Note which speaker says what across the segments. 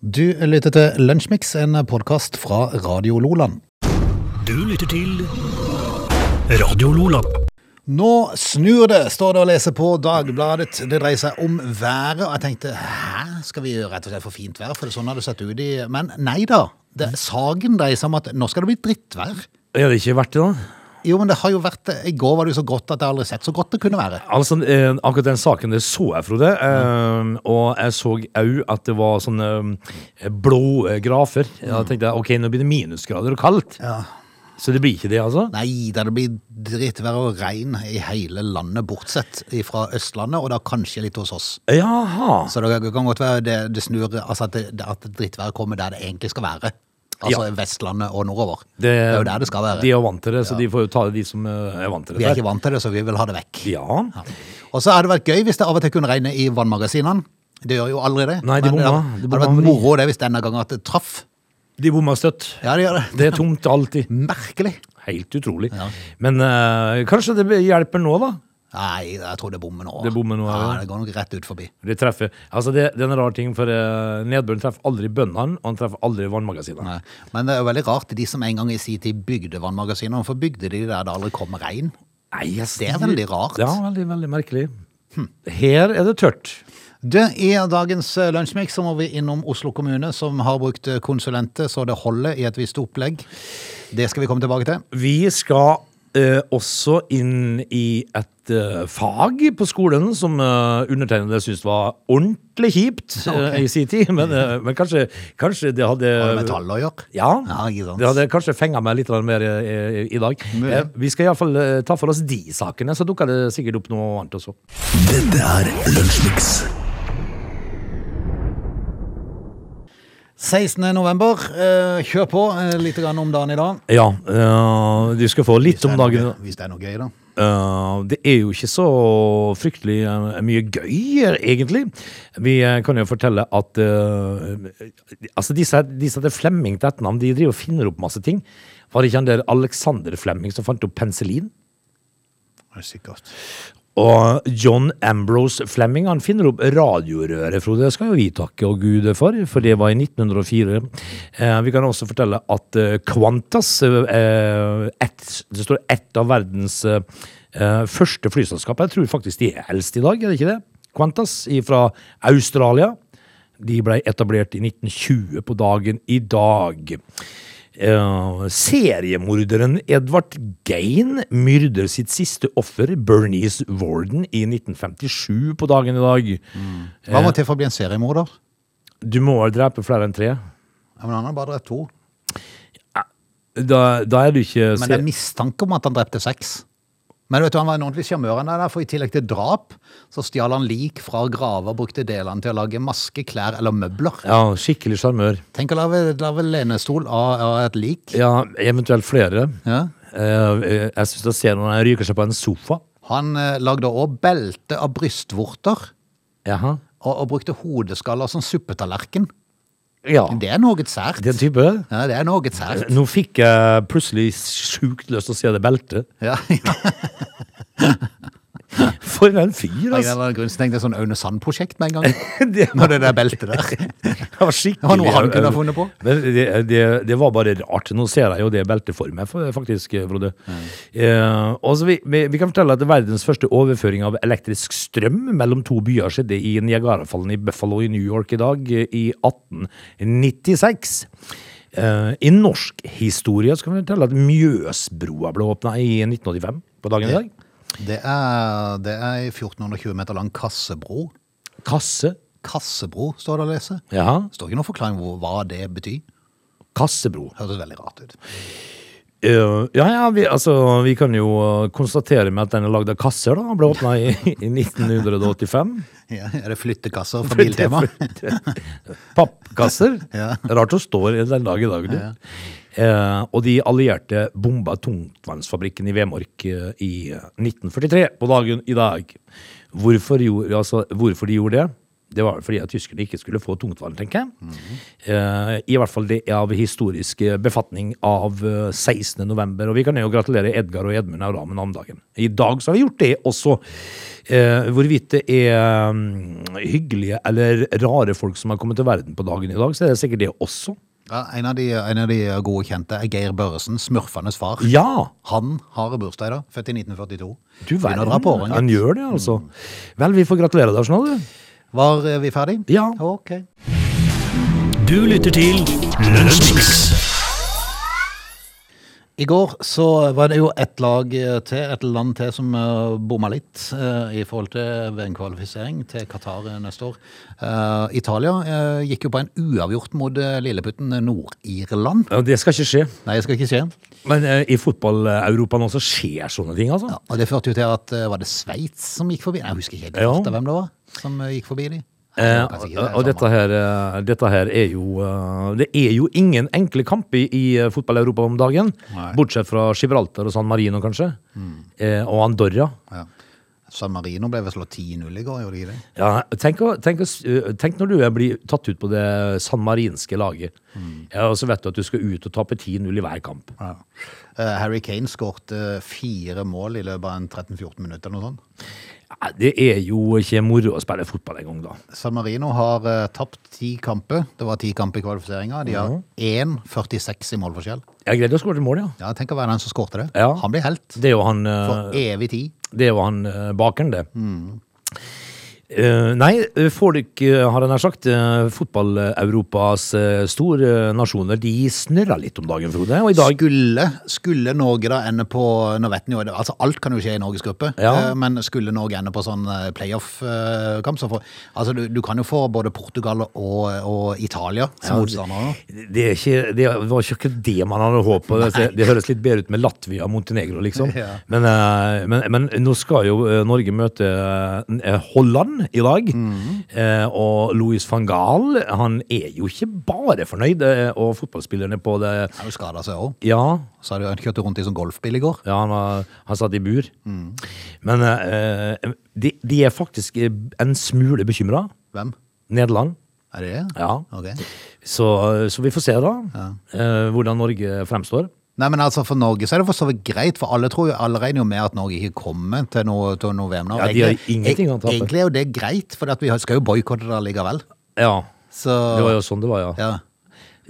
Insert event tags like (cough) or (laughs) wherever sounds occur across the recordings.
Speaker 1: Du lytter til Lunsjmix, en podkast fra Radio Loland.
Speaker 2: Du lytter til Radio Lola.
Speaker 1: Nå snur det, står det å lese på Dagbladet. Det dreier seg om været. Og jeg tenkte hæ, skal vi rett og slett få fint vær? For sånn har det sett ut i Men nei da. Det, saken dreier seg om at nå skal det bli drittvær.
Speaker 3: Er det ikke verdt det, da?
Speaker 1: Jo, men det har jo vært I går var det jo så godt at jeg aldri har sett så godt det kunne være.
Speaker 3: Altså, eh, akkurat den saken det så jeg, Frode. Eh, og jeg så òg at det var sånne eh, blå eh, grafer. Da tenkte jeg ok, nå blir det minusgrader og kaldt. Så det blir ikke det, altså?
Speaker 1: Nei da, det blir drittvær og regn i hele landet, bortsett fra Østlandet, og da kanskje litt hos oss.
Speaker 3: Jaha.
Speaker 1: Så det kan godt være det, det snur Altså at, det, at drittværet kommer der det egentlig skal være. Altså Vestlandet og nordover. Det, er jo der det skal være.
Speaker 3: De er jo vant til det, så de får jo ta det, de som eh, er vant til det.
Speaker 1: vi er
Speaker 3: der.
Speaker 1: ikke vant til det, så vi vil ha det vekk.
Speaker 3: Ja.
Speaker 1: Og så hadde det vært gøy hvis det av og til kunne regne i vannmagasinene. Det gjør jo aldri det.
Speaker 3: Nei, de
Speaker 1: Men
Speaker 3: bomma.
Speaker 1: Det hadde
Speaker 3: De bomma
Speaker 1: vært
Speaker 3: med de.
Speaker 1: moro det hvis denne gangen at det traff.
Speaker 3: De bomma støtt.
Speaker 1: Ja, det gjør det.
Speaker 3: Det er tomt alltid.
Speaker 1: Merkelig.
Speaker 3: Helt utrolig.
Speaker 1: Ja.
Speaker 3: Men eh, kanskje det hjelper nå, da?
Speaker 1: Nei, jeg tror det bommer nå.
Speaker 3: Det bommer nå,
Speaker 1: ja.
Speaker 3: ja.
Speaker 1: Det går nok rett ut forbi.
Speaker 3: Det treffer, altså det, det er en rar ting, for eh, nedbøren treffer aldri bøndene, og han treffer aldri vannmagasinene.
Speaker 1: Nei. Men det er jo veldig rart, de som en gang i sin tid bygde vannmagasinene, hvorfor bygde de der det aldri kom regn?
Speaker 3: Nei, jeg
Speaker 1: Det er veldig rart.
Speaker 3: Ja, veldig, veldig merkelig. Her er det tørt.
Speaker 1: Du, I dagens eh, Lunsjmix så må vi innom Oslo kommune, som har brukt eh, konsulenter så det holder i et visst opplegg. Det skal vi komme tilbake til.
Speaker 3: Vi skal eh, også inn i et eh, fag på skolen som eh, undertegnede syntes var ordentlig kjipt eh, i sin tid, men, eh, men kanskje, kanskje det hadde
Speaker 1: Har det med tall å gjøre?
Speaker 3: Eh, Ja,
Speaker 1: Ja, ikke sant.
Speaker 3: det hadde kanskje fenga meg litt mer eh, i, i dag.
Speaker 1: Mulig.
Speaker 3: Eh, vi skal iallfall eh, ta for oss de sakene, så dukker det sikkert opp noe annet også.
Speaker 2: Dette er Lunsjmix.
Speaker 1: 16. november. eh, Kjør på eh, litt grann om dagen i dag.
Speaker 3: Ja, eh, du skal få litt om dagen.
Speaker 1: Hvis det er noe gøy, da.
Speaker 3: Eh, det er jo ikke så fryktelig eh, mye gøy, eh, egentlig. Vi eh, kan jo fortelle at eh, Altså, disse, her- disse til Flemming til etternavn, de driver og finner opp masse ting. Var det ikke han der Alexander Flemming som fant opp penicillin?
Speaker 1: Det er sikkert.
Speaker 3: Og John Ambrose Flemming han finner opp radiorøret, Frode. Det skal jo vi takke og Gud for, for det var i 1904. Eh, vi kan også fortelle at eh, Qantas, eh, et, det står ett av verdens eh, eh, første flyselskap, jeg tror faktisk de er eldst i dag, er det ikke det? Qantas fra Australia. De ble etablert i 1920 på dagen i dag. Eh, seriemorderen Edvard Gein myrder sitt siste offer, Bernice Warden, i 1957 på dagen i dag.
Speaker 1: Hva må til for å bli en seriemorder?
Speaker 3: Du må vel drepe flere enn tre?
Speaker 1: Ja, men han har bare drept to.
Speaker 3: Da, da er du ikke
Speaker 1: Men det er
Speaker 3: ser-
Speaker 1: mistanke om at han drepte seks. Men vet du, han var en ordentlig sjarmør, han der, for i tillegg til drap, så stjal han lik fra graver og brukte delene til å lage maske, klær eller møbler.
Speaker 3: Ja, skikkelig sjarmør.
Speaker 1: Tenk å lage, lage lenestol av, av et lik.
Speaker 3: Ja, eventuelt flere.
Speaker 1: Ja.
Speaker 3: Eh, eh, jeg syns jeg ser når han ryker seg på en sofa.
Speaker 1: Han eh, lagde òg belte av brystvorter,
Speaker 3: Jaha.
Speaker 1: og, og brukte hodeskaller som suppetallerken.
Speaker 3: Ja.
Speaker 1: Det er noe sært.
Speaker 3: Den type.
Speaker 1: Ja, det er noe sært.
Speaker 3: Nå fikk jeg plutselig sjukt lyst til å se det beltet.
Speaker 1: Ja, ja.
Speaker 3: For en fyr,
Speaker 1: Av en
Speaker 3: altså!
Speaker 1: eller annen grunn så tenkte jeg sånn Aune Sand-prosjekt med en (laughs) gang.
Speaker 3: (laughs) Det var,
Speaker 1: Når det der beltet der.
Speaker 3: det var skikkelig
Speaker 1: Det var noe han kunne ha funnet på.
Speaker 3: Men det, det, det var bare rart. Nå ser jeg jo det beltet for meg, for- faktisk, Frode. Eh, og så vi, vi, vi kan fortelle at verdens første overføring av elektrisk strøm mellom to byer skjedde i Niagarafallen i Buffalo i New York i dag, eh, i 1896. Eh, I norsk historie så kan vi fortelle at Mjøsbrua ble åpna i 1985, på dagen i dag.
Speaker 1: Det er, det er ei 1420 meter lang kassebro.
Speaker 3: Kasse.
Speaker 1: Kassebro, står det å lese.
Speaker 3: Ja,
Speaker 1: Det står ikke noen forklaring på hva det betyr.
Speaker 3: Kassebro.
Speaker 1: Hørtes veldig rart ut.
Speaker 3: Eh, ja, ja, vi, altså, vi kan jo eh, konstatere med at den er lagd av kasser, da. Den ble åpna i, i (laughs) 1985.
Speaker 1: Ja, er det flyttekasser for (laughs) biltema?
Speaker 3: (laughs) Pappkasser.
Speaker 1: Ja.
Speaker 3: Rart å stå i den dag i dag, du. Eh, og de allierte bomba tungtvannsfabrikken i Vemork eh, i 1943, på dagen i dag. Hvorfor, gjorde, altså, hvorfor de gjorde det? Det var fordi at tyskerne ikke skulle få tungtvann, tenker jeg. Eh, I hvert fall det av historisk eh, befatning av eh, 16. november. Og vi kan jo gratulere Edgar og Edmund Aura med navnedagen. I dag så har vi gjort det også. Eh, hvorvidt det er mm, hyggelige eller rare folk som har kommet til verden på dagen i dag, så er det sikkert det også.
Speaker 1: Ja, en, av de, en av de gode kjente er Geir Børresen, smurfenes far.
Speaker 3: Ja!
Speaker 1: Han har bursdag i dag, født i 1942.
Speaker 3: Du
Speaker 1: Begynner å dra på årene.
Speaker 3: Han gjør det, altså. Vel, vi får gratulere deg sånn, du.
Speaker 1: Var eh, vi ferdig?
Speaker 3: Ja.
Speaker 1: Ok.
Speaker 2: Du lytter til Lunsjmix.
Speaker 1: I går så var det jo et lag eh, til, et land til, som eh, bomma litt eh, i forhold til ved en kvalifisering til Qatar eh, neste år. Eh, Italia eh, gikk jo på en uavgjort mot eh, lilleputten eh, Nord-Irland.
Speaker 3: Ja, Det skal ikke skje.
Speaker 1: Nei, det skal ikke skje.
Speaker 3: Men eh, i fotball-Europa nå så skjer sånne ting, altså.
Speaker 1: Ja, og det førte jo til at eh, var det Sveits som gikk forbi? Nei, jeg husker ikke helt
Speaker 3: Ja.
Speaker 1: farta hvem det var som eh, gikk forbi de.
Speaker 3: Eh,
Speaker 1: Kanskje
Speaker 3: og
Speaker 1: ikke, det er
Speaker 3: og
Speaker 1: samme.
Speaker 3: dette her, eh, dette her er jo eh, Det er jo ingen enkle kamper i eh, fotball-Europa om dagen.
Speaker 1: Nei. Mm.
Speaker 3: Bortsett fra Gibraltar og San Marino, kanskje. Eh, Og Andorra.
Speaker 1: Ja. San Marino ble vel slått 10-0 i går, gjorde de ikke det?
Speaker 3: Ja, tenk, å- tenk, å s- eh, tenk når du er- blir tatt ut på det sanmarinske laget.
Speaker 1: Mm.
Speaker 3: Ja, og så vet du at du skal ut og tape 10-0 i hver kamp.
Speaker 1: Ja. Eh, Harry Kane skårte fire mål i løpet av en 13-14 minutter eller noe sånt.
Speaker 3: Ja, det er jo ikke moro å spille fotball engang, da.
Speaker 1: San Marino har eh, tapt ti kamper. Det var ti kamper i kvalifiseringa. De
Speaker 3: Mhm.
Speaker 1: har 1,46 i målforskjell.
Speaker 3: Jeg greide å skåre til mål, ja.
Speaker 1: Ja, Tenk å være den som skårte det.
Speaker 3: Ja.
Speaker 1: Han blir helt
Speaker 3: Det er jo han, eh,
Speaker 1: for evig tid.
Speaker 3: det er jo han eh, bakeren, det. Eh, nei, eh, folk, eh, har jeg nær sagt, eh, fotball-Europas eh, store eh, nasjoner, de snurrer litt om dagen, Frode. Og i dag
Speaker 1: Skulle, skulle Norge da ende på Nå vet en jo, altså Alt kan jo skje i Norges gruppe,
Speaker 3: Ja.
Speaker 1: eh, men skulle Norge ende på sånn eh, playoff-kamp så får- altså du, du kan jo få både Portugal og, og Italia som motstandere.
Speaker 3: det, er ikke, det var ikke akkurat det man hadde håpet. Det, det høres litt bedre ut med Latvia og Montenegro, liksom.
Speaker 1: Ja.
Speaker 3: Men, eh, men, men nå skal jo eh, Norge møte eh, Holland i dag. Eh, Og Louis van Gaal, han er jo ikke bare fornøyd, eh, og fotballspillerne på det
Speaker 1: Han er jo skada seg òg.
Speaker 3: Ja,
Speaker 1: Så har du kjørt rundt i sånn golfbil i går.
Speaker 3: Ja, han, var, han satt i bur. Men eh, de, de er faktisk eh, en smule bekymra.
Speaker 1: Hvem?
Speaker 3: Nederland.
Speaker 1: Er det det?
Speaker 3: Ja.
Speaker 1: Ok.
Speaker 3: Så, så vi får se, da, eh, hvordan Norge fremstår.
Speaker 1: Nei, men altså For Norge så er det for så vidt greit, for alle tror jo, alle regner jo med at Norge ikke kommer til noe, til noe VM nå.
Speaker 3: Ja, de har ingenting å
Speaker 1: å
Speaker 3: tape.
Speaker 1: Egentlig er jo det greit, for at vi har- skal jo boikotte det likevel.
Speaker 3: Ja.
Speaker 1: Så,
Speaker 3: Det var jo sånn det var, ja.
Speaker 1: ja.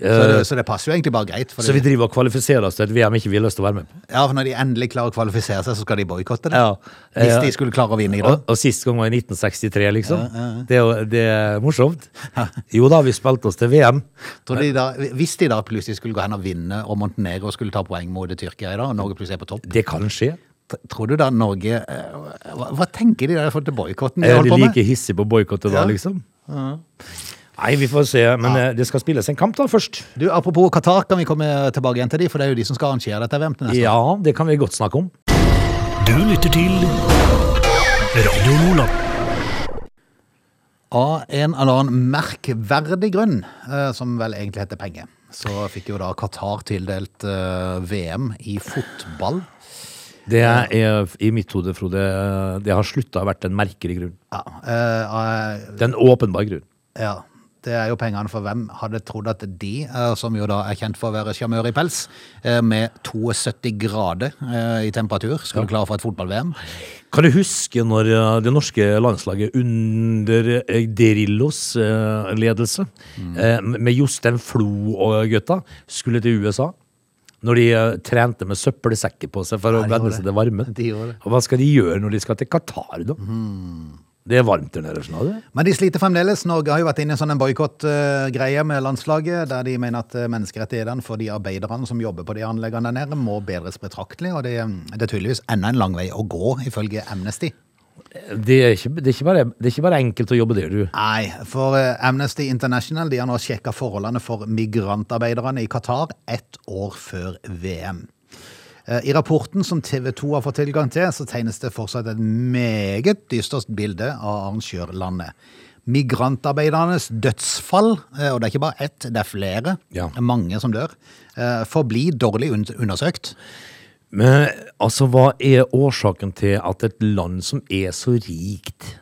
Speaker 1: så, det, så det passer jo egentlig bare greit. For
Speaker 3: Eh, Så vi driver og kvalifiserer oss til et VM ikke vi har lyst til å være med på.
Speaker 1: ja, for Når de endelig klarer å kvalifisere seg, så skal de boikotte det.
Speaker 3: Ja.
Speaker 1: Hvis
Speaker 3: Eh,
Speaker 1: de skulle klare å vinne i dag.
Speaker 3: Og, og sist gang var i 1963, liksom. Det, er jo- det er morsomt. Jo da, vi spilte oss til VM.
Speaker 1: Tror de da, hvis de da plutselig skulle gå hen og vinne, og Montenegro skulle ta poeng mot Tyrkia i dag, og Norge plutselig er på topp,
Speaker 3: Det kan skje.
Speaker 1: tr- tror du da Norge eh, Hva, hva tenker de der i forhold til boikotten de
Speaker 3: Er Eh, de
Speaker 1: holder på med?
Speaker 3: like hissige på boikott da,
Speaker 1: Ja.
Speaker 3: liksom? Nei, vi får se. Men eh, det skal spilles en kamp, da, først.
Speaker 1: Du, Apropos Qatar, kan vi komme tilbake igjen til de, for det er jo de som skal arrangere dette VM til neste år.
Speaker 3: Ja, det kan vi godt snakke om.
Speaker 2: Du lytter til Radio Lola.
Speaker 1: Av en eller annen merkverdig grunn, eh, som vel egentlig heter penger, så fikk jo da Qatar tildelt eh, VM i fotball.
Speaker 3: Det er i mitt hode, Frode, eh, det har slutta å vært en merkelig grunn.
Speaker 1: Ja, eh, eh,
Speaker 3: Det er en åpenbar grunn.
Speaker 1: ja, det er jo pengene for hvem hadde trodd at de, eh, som jo da er kjent for å være sjarmør i pels, eh, med 72 grader eh, i temperatur, skulle klare for et fotball-VM.
Speaker 3: Kan du huske når eh, det norske landslaget under eh, Derillos eh, ledelse, eh, med Jostein Flo og gutta, skulle til USA? Når de eh, trente med søppelsekker på seg for å
Speaker 1: de gjorde
Speaker 3: venne seg til varmen.
Speaker 1: De gjorde det.
Speaker 3: Og hva skal de gjøre når de skal til Qatar, da? Mm. Det er varmt der nede, skjønner du.
Speaker 1: Men de sliter fremdeles. Norge har jo vært inne i en sånn boikott-greie med landslaget, der de mener at eh, menneskerettighetene for de arbeiderne som jobber på de anleggene der nede, må bedres betraktelig. Og det, det er tydeligvis enda en lang vei å gå, ifølge Amnesty.
Speaker 3: Eh, Det er, ikke, det, er ikke bare, det er ikke bare enkelt å jobbe der, du.
Speaker 1: Nei, for eh, Amnesty International de har nå sjekka forholdene for migrantarbeiderne i Qatar ett år før VM. Eh, I rapporten som TV 2 har fått tilgang til, så tegnes det fortsatt et meget dystert bilde av arrangørlandet. Migrantarbeidernes dødsfall, eh, og det er ikke bare ett, det er flere,
Speaker 3: Ja.
Speaker 1: mange som dør, eh, forblir dårlig un- undersøkt.
Speaker 3: Men altså, hva er årsaken til at et land som er så rikt,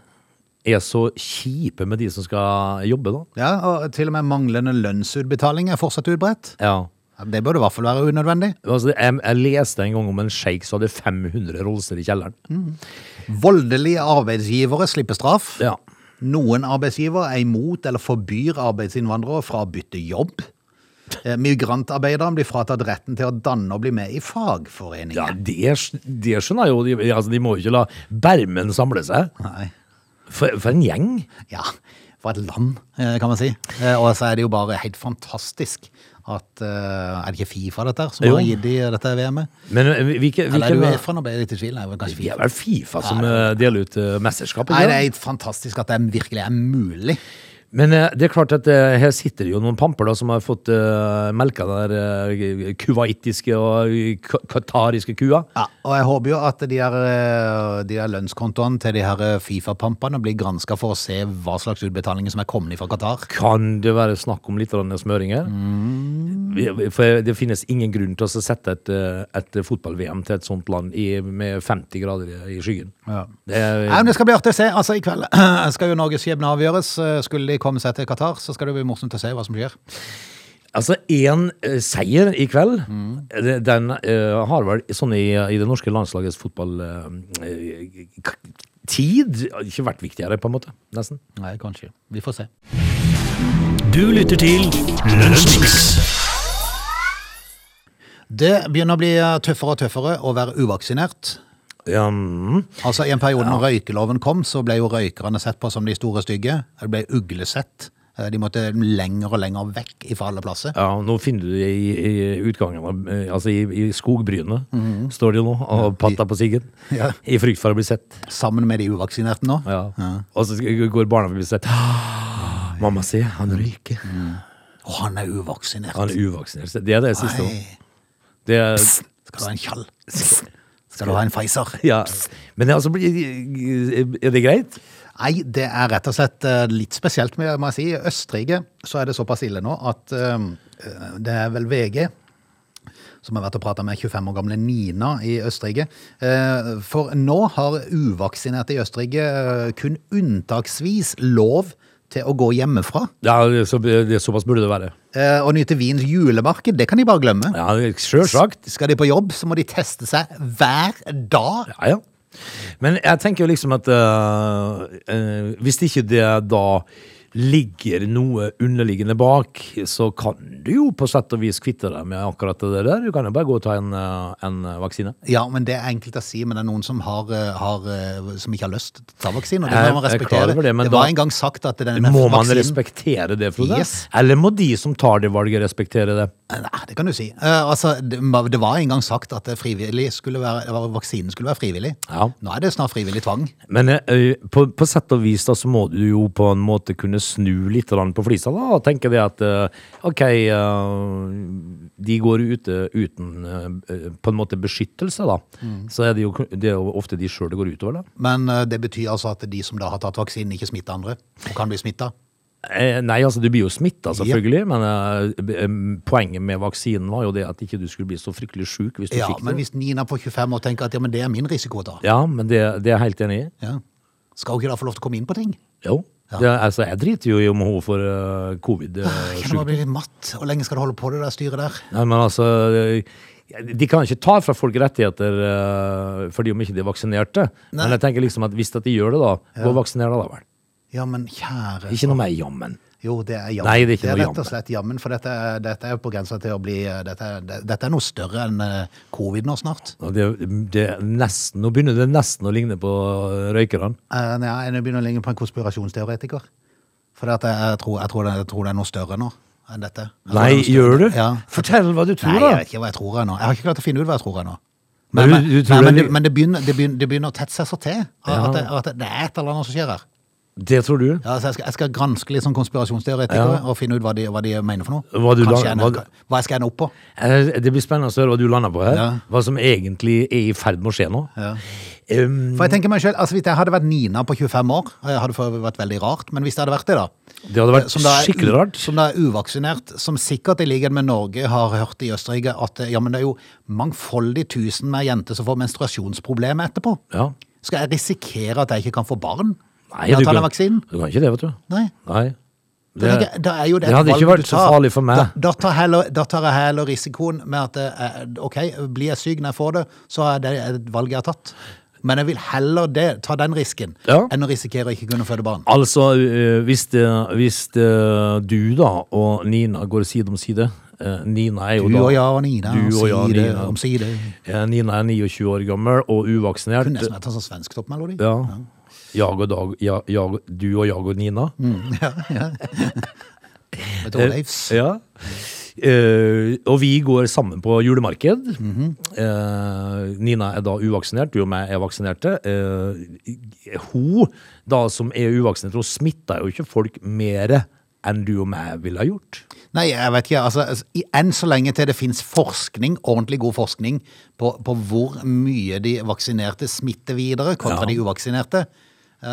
Speaker 3: er så kjipe med de som skal jobbe, da.
Speaker 1: Ja, og til og med manglende lønnsutbetaling er fortsatt utbredt.
Speaker 3: Ja.
Speaker 1: Ja, Det burde i hvert fall være unødvendig.
Speaker 3: Altså, jeg, jeg leste en gang om en sjeik som hadde 500 rolser i kjelleren.
Speaker 1: Mm. Voldelige arbeidsgivere slipper straff.
Speaker 3: Ja.
Speaker 1: Noen arbeidsgivere er imot eller forbyr arbeidsinnvandrere fra å bytte jobb. Eh, Migrantarbeidere blir fratatt retten til å danne og bli med i fagforeninger.
Speaker 3: Ja, det, sk- det skjønner jeg jo. De, altså, de må jo ikke la bermen samle seg.
Speaker 1: Nei.
Speaker 3: For, for en gjeng.
Speaker 1: Ja, for et land, eh, kan man si. Eh, Og så er det jo bare helt fantastisk at eh, Er det ikke Fifa dette her, som
Speaker 3: Jo.
Speaker 1: har gitt de dette VM-et?
Speaker 3: Men eh, hvilke,
Speaker 1: Eller er
Speaker 3: hvilke
Speaker 1: det Uefa? Nå ble jeg litt i tvil. Nei, det var kanskje
Speaker 3: Det er
Speaker 1: FIFA.
Speaker 3: vel Fifa som eh, deler ut eh, mesterskap?
Speaker 1: Nei,
Speaker 3: ikke
Speaker 1: det
Speaker 3: sant?
Speaker 1: er helt fantastisk at det virkelig er mulig.
Speaker 3: Men eh, det er klart at eh, her sitter det jo noen pamper da, som har fått eh, melka den der eh, kuwaitiske og ka- qatariske kua.
Speaker 1: Ja, og jeg håper jo at de der, eh, de der lønnskontoene til de her eh, Fifa-pampene blir granska for å se hva slags utbetalinger som er kommet fra Qatar.
Speaker 3: Kan det være snakk om litt grann smøringer? Vi- For det finnes ingen grunn til å sette et, eh, et fotball-VM til et sånt land i, med 50 grader i skyggen.
Speaker 1: Ja.
Speaker 3: Det er,
Speaker 1: Nei, men det skal bli artig å se. Altså, I kveld (clears throat) skal jo Norges skjebne avgjøres. Eh, Skulle de komme seg til Qatar, så skal det bli morsomt å se hva som skjer.
Speaker 3: Altså, én seier i kveld, det- den eh, har vel sånn i, i det norske landslagets fotball eh, eh, k- Tid ikke vært viktigere, på en måte. Nesten.
Speaker 1: Nei, kanskje. Vi får se.
Speaker 2: Du lytter til Lunsjmix.
Speaker 1: Det begynner å bli eh, tøffere og tøffere å være uvaksinert.
Speaker 3: Ja, mm.
Speaker 1: Altså I en periode når røykeloven kom, så ble jo røykerne sett på som de store stygge. De ble uglesett. Eh, De måtte lenger og lenger vekk ifra alle plasser.
Speaker 3: ja, nå finner du det i, i utgangen av eh, Altså i, i skogbrynet, står det jo nå, og patta på siggen.
Speaker 1: Mhm. Ja.
Speaker 3: I frykt for å bli sett.
Speaker 1: Sammen med de uvaksinerte nå.
Speaker 3: Ja. Og så går barna forbi og blir sett.
Speaker 1: Ah,
Speaker 3: Ah, Mamma sier han røyker.
Speaker 1: Og han er uvaksinert.
Speaker 3: Han er uvaksinert. Det er det siste nå.
Speaker 1: Nei.
Speaker 3: Det er
Speaker 1: Skal du ha en tjall? Skal du ha en Pfizer?
Speaker 3: Ja. Men altså, blir- er det greit?
Speaker 1: Nei, det er rett og slett eh, litt spesielt, må jeg må jeg si. I Østerrike så er det såpass ille nå at eh, det er vel VG som har vært og prata med 25 år gamle Nina i Østerrike. Eh, For nå har uvaksinerte i Østerrike eh, kun unntaksvis lov til å gå hjemmefra.
Speaker 3: Ja, det er så, det er såpass burde det være.
Speaker 1: Eh, Å nyte Wiens julemarked, det kan de bare glemme.
Speaker 3: Ja, det er Sjølsagt.
Speaker 1: Skal de på jobb, så må de teste seg hver dag.
Speaker 3: Ja, ja. Men jeg tenker jo liksom at øh, øh, hvis ikke det da ligger noe underliggende bak, så kan du jo på sett og vis kvitte deg med akkurat det der. Du kan jo bare gå og ta en, øh, en vaksine.
Speaker 1: Ja, men det er enkelt å si, men det er noen som, har, eh, har, eh, som ikke har lyst til å ta vaksine, og det
Speaker 3: Jeg-
Speaker 1: må man
Speaker 3: jeg er klar
Speaker 1: respektere.
Speaker 3: over det, men
Speaker 1: var
Speaker 3: da-
Speaker 1: en gang sagt at denne
Speaker 3: Må man
Speaker 1: vaksinen-
Speaker 3: respektere det, Frode?
Speaker 1: Yes.
Speaker 3: Eller må de som tar det valget, respektere det?
Speaker 1: Nei, det kan du si. Eh, altså, det, ma- det var en gang sagt at det frivillig skulle være, det var- vaksinen skulle være frivillig.
Speaker 3: Ja.
Speaker 1: Nå er det snart frivillig tvang.
Speaker 3: Men eh, på, på sett og vis da, så må du jo på en måte kunne snu litt grann på flisa da, og tenke det at eh, ok, eh, de går ute uten eh, eh, på en måte beskyttelse da,
Speaker 1: Mm.
Speaker 3: så er det, jo, det er jo ofte de selv det går utover da.
Speaker 1: Men eh, det betyr altså at de som da har tatt vaksinen, ikke smitter andre, og kan bli smitta.
Speaker 3: Eh, nei, altså du blir jo smittet selvfølgelig, men eh, b- em, poenget med vaksinen var jo det at ikke du skulle bli så fryktelig syk hvis du
Speaker 1: Ja,
Speaker 3: fikk
Speaker 1: men
Speaker 3: det.
Speaker 1: hvis Nina på 25 år tenker at ja, men det er min risiko, da.
Speaker 3: Ja, men det, det er jeg helt enig i.
Speaker 1: Ja. Skal hun ikke da få lov til å komme inn på ting?
Speaker 3: Jo, det, altså jeg driter jo i om hun får eh, covid
Speaker 1: Jeg
Speaker 3: eh,
Speaker 1: Kjenner
Speaker 3: syk.
Speaker 1: man blir litt matt. Hvor lenge skal du holde på det der styret der?
Speaker 3: Nei, men altså De kan ikke ta fra folk rettigheter eh, fordi om ikke de er vaksinerte. Men jeg tenker liksom at hvis at de gjør det, da, gå og vaksiner deg, da vel.
Speaker 1: Ja, men kjære
Speaker 3: Ikke noe mer jammen.
Speaker 1: Jo, det er jammen.
Speaker 3: Nei, det er ikke noe
Speaker 1: rett og
Speaker 3: jammen.
Speaker 1: slett jammen, for dette, er- dette er jo på grensa til å bli eh, Dette, er- det- dette er noe større enn eh, covid nå snart.
Speaker 3: Og Det, det er nesten, nå begynner det nesten å ligne på røykerne.
Speaker 1: Eh, nei, jeg begynner å ligne på en konspirasjonsteoretiker. For dette, er- jeg, tror, jeg, tror det, jeg tror det er noe større nå enn dette. Jeg tror
Speaker 3: Nei,
Speaker 1: det er noe
Speaker 3: gjør
Speaker 1: større.
Speaker 3: du?
Speaker 1: Ja.
Speaker 3: Fortell hva du
Speaker 1: Nei,
Speaker 3: tror,
Speaker 1: jeg
Speaker 3: da!
Speaker 1: vet ikke hva jeg tror ennå. Jeg har ikke klart å finne ut hva jeg tror ennå.
Speaker 3: Men
Speaker 1: Men,
Speaker 3: du-
Speaker 1: men,
Speaker 3: du tror
Speaker 1: nei, men,
Speaker 3: det-
Speaker 1: det, men det, begynner, det, begynner, det begynner å tette seg så til at,
Speaker 3: Ja.
Speaker 1: at, det, at det er et eller annet som skjer her.
Speaker 3: Det tror du?
Speaker 1: Ja, så jeg, skal, jeg skal granske litt sånn konspirasjonsteoretikere
Speaker 3: Ja.
Speaker 1: og finne ut hva de, hva de mener for noe.
Speaker 3: Hva du
Speaker 1: Kanskje
Speaker 3: la-
Speaker 1: jeg ender-
Speaker 3: hva-
Speaker 1: hva jeg skal ende opp på.
Speaker 3: Eh, Det blir spennende å høre hva du lander på her.
Speaker 1: Ja.
Speaker 3: Hva som egentlig er i ferd med å skje nå.
Speaker 1: Ja.
Speaker 3: Um,
Speaker 1: For jeg tenker meg selv, altså Hvis jeg hadde vært Nina på 25 år, eh, hadde det vært veldig rart. Men hvis det hadde vært det, da Eh,
Speaker 3: det hadde vært
Speaker 1: som da er-
Speaker 3: skikkelig rart.
Speaker 1: Som da er uvaksinert, som sikkert i likhet med Norge har hørt i Østerrike at eh, ja, men det er jo mangfoldig tusen mer jenter som får menstruasjonsproblemer etterpå.
Speaker 3: Ja.
Speaker 1: Skal jeg risikere at jeg ikke kan få barn?
Speaker 3: Nei,
Speaker 1: Ja,
Speaker 3: du
Speaker 1: ta den
Speaker 3: kan-
Speaker 1: vaksinen?
Speaker 3: Du kan ikke det, vet du.
Speaker 1: Nei.
Speaker 3: Nei.
Speaker 1: Da tenker jeg- da er jo
Speaker 3: det hadde
Speaker 1: et
Speaker 3: ikke
Speaker 1: valg du
Speaker 3: vært så
Speaker 1: tar.
Speaker 3: farlig for meg.
Speaker 1: Da, da, tar heller, da tar jeg heller risikoen med at eh, OK, blir jeg syk når jeg får det, så er det et valg jeg har tatt. Men jeg vil heller det, ta den risken
Speaker 3: Ja.
Speaker 1: enn å risikere å ikke kunne føde barn.
Speaker 3: Altså, eh, hvis, det, hvis eh, du da og Nina går side om side eh, Nina er jo
Speaker 1: Du
Speaker 3: da
Speaker 1: og jeg og Nina,
Speaker 3: Du og jeg og
Speaker 1: omsider,
Speaker 3: Nina.
Speaker 1: omsider.
Speaker 3: Eh, Nina er 29 år gammel og uvaksinert.
Speaker 1: Kunne nesten vært en sånn svensk toppmelodi.
Speaker 3: Ja. Jag og dag, ja, jag, du og jag og Nina.
Speaker 1: Mm. Med Tor Leifs.
Speaker 3: Ja. Eh, og vi går sammen på julemarked.
Speaker 1: Mhm.
Speaker 3: Eh, Nina er da uvaksinert, du og meg er vaksinerte. Eh, hun da som er uvaksinert, hun smitter jo ikke folk mer enn du og meg ville ha gjort.
Speaker 1: Nei, jeg vet ikke. Altså, altså, i- enn så lenge til det finnes forskning, ordentlig god forskning, på, på hvor mye de vaksinerte smitter videre kontra
Speaker 3: Ja.
Speaker 1: de uvaksinerte. Eh,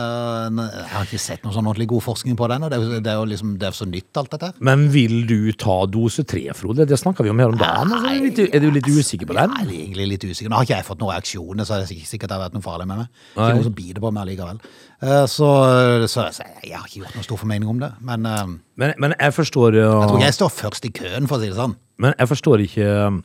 Speaker 1: ne- jeg har ikke sett noe sånn ordentlig god forskning på den, og det er jo, det er jo liksom, det er så nytt alt dette. her.
Speaker 3: Men vil du ta dose tre, Frode? Det snakka vi om her om dagen. Altså. Er, du litt, er du litt usikker på den?
Speaker 1: Jeg er egentlig litt usikker. Nå har ikke jeg fått noen reaksjoner, så det er sikk- sikkert det har vært noe farlig med meg.
Speaker 3: Nei.
Speaker 1: Ikke noe som biter på meg likevel. Eh, så, så, så jeg har ikke gjort noen stor formening om det, men eh,
Speaker 3: Men, men jeg forstår
Speaker 1: jeg
Speaker 3: uh,
Speaker 1: tror jeg står først i køen, for å si det sånn.
Speaker 3: Men jeg forstår ikke um,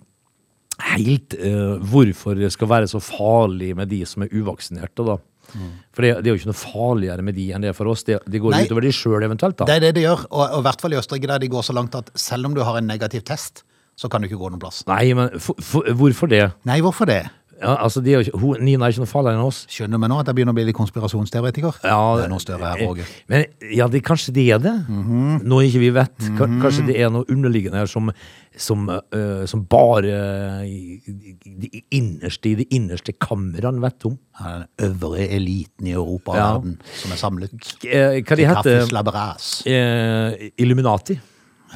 Speaker 3: helt eh, hvorfor det skal være så farlig med de som er uvaksinerte, da. For det, det er jo ikke noe farligere med de enn det er for oss. Det, det går
Speaker 1: Mm. Nei.
Speaker 3: utover de sjøl eventuelt, da.
Speaker 1: Det er det de gjør, og, og i hvert fall i Østerrike der de går så langt at selv om du har en negativ test, så kan du ikke gå noen plass.
Speaker 3: Nei, men for, for, hvorfor det?
Speaker 1: Nei, hvorfor det?
Speaker 3: Ja, altså, de er jo ikke, hun, Nina er ikke noe farligere enn oss.
Speaker 1: Skjønner du meg nå at jeg begynner å bli litt konspirasjonsteoretiker?
Speaker 3: Ja, Mhm.
Speaker 1: det er noe større her, Åge.
Speaker 3: Eh, Men ja, det, kanskje det er det. Noe ikke vi vet. Ka- Kanskje det er noe underliggende her som, som, eh, som bare i- i- de innerste i de innerste kamrene vet om.
Speaker 1: Ja, Den øvre eliten i Europa og
Speaker 3: Ja.
Speaker 1: verden som er samlet.
Speaker 3: Eh, Hva de
Speaker 1: Til kaffes
Speaker 3: heter
Speaker 1: laberas.
Speaker 3: eh, Illuminati.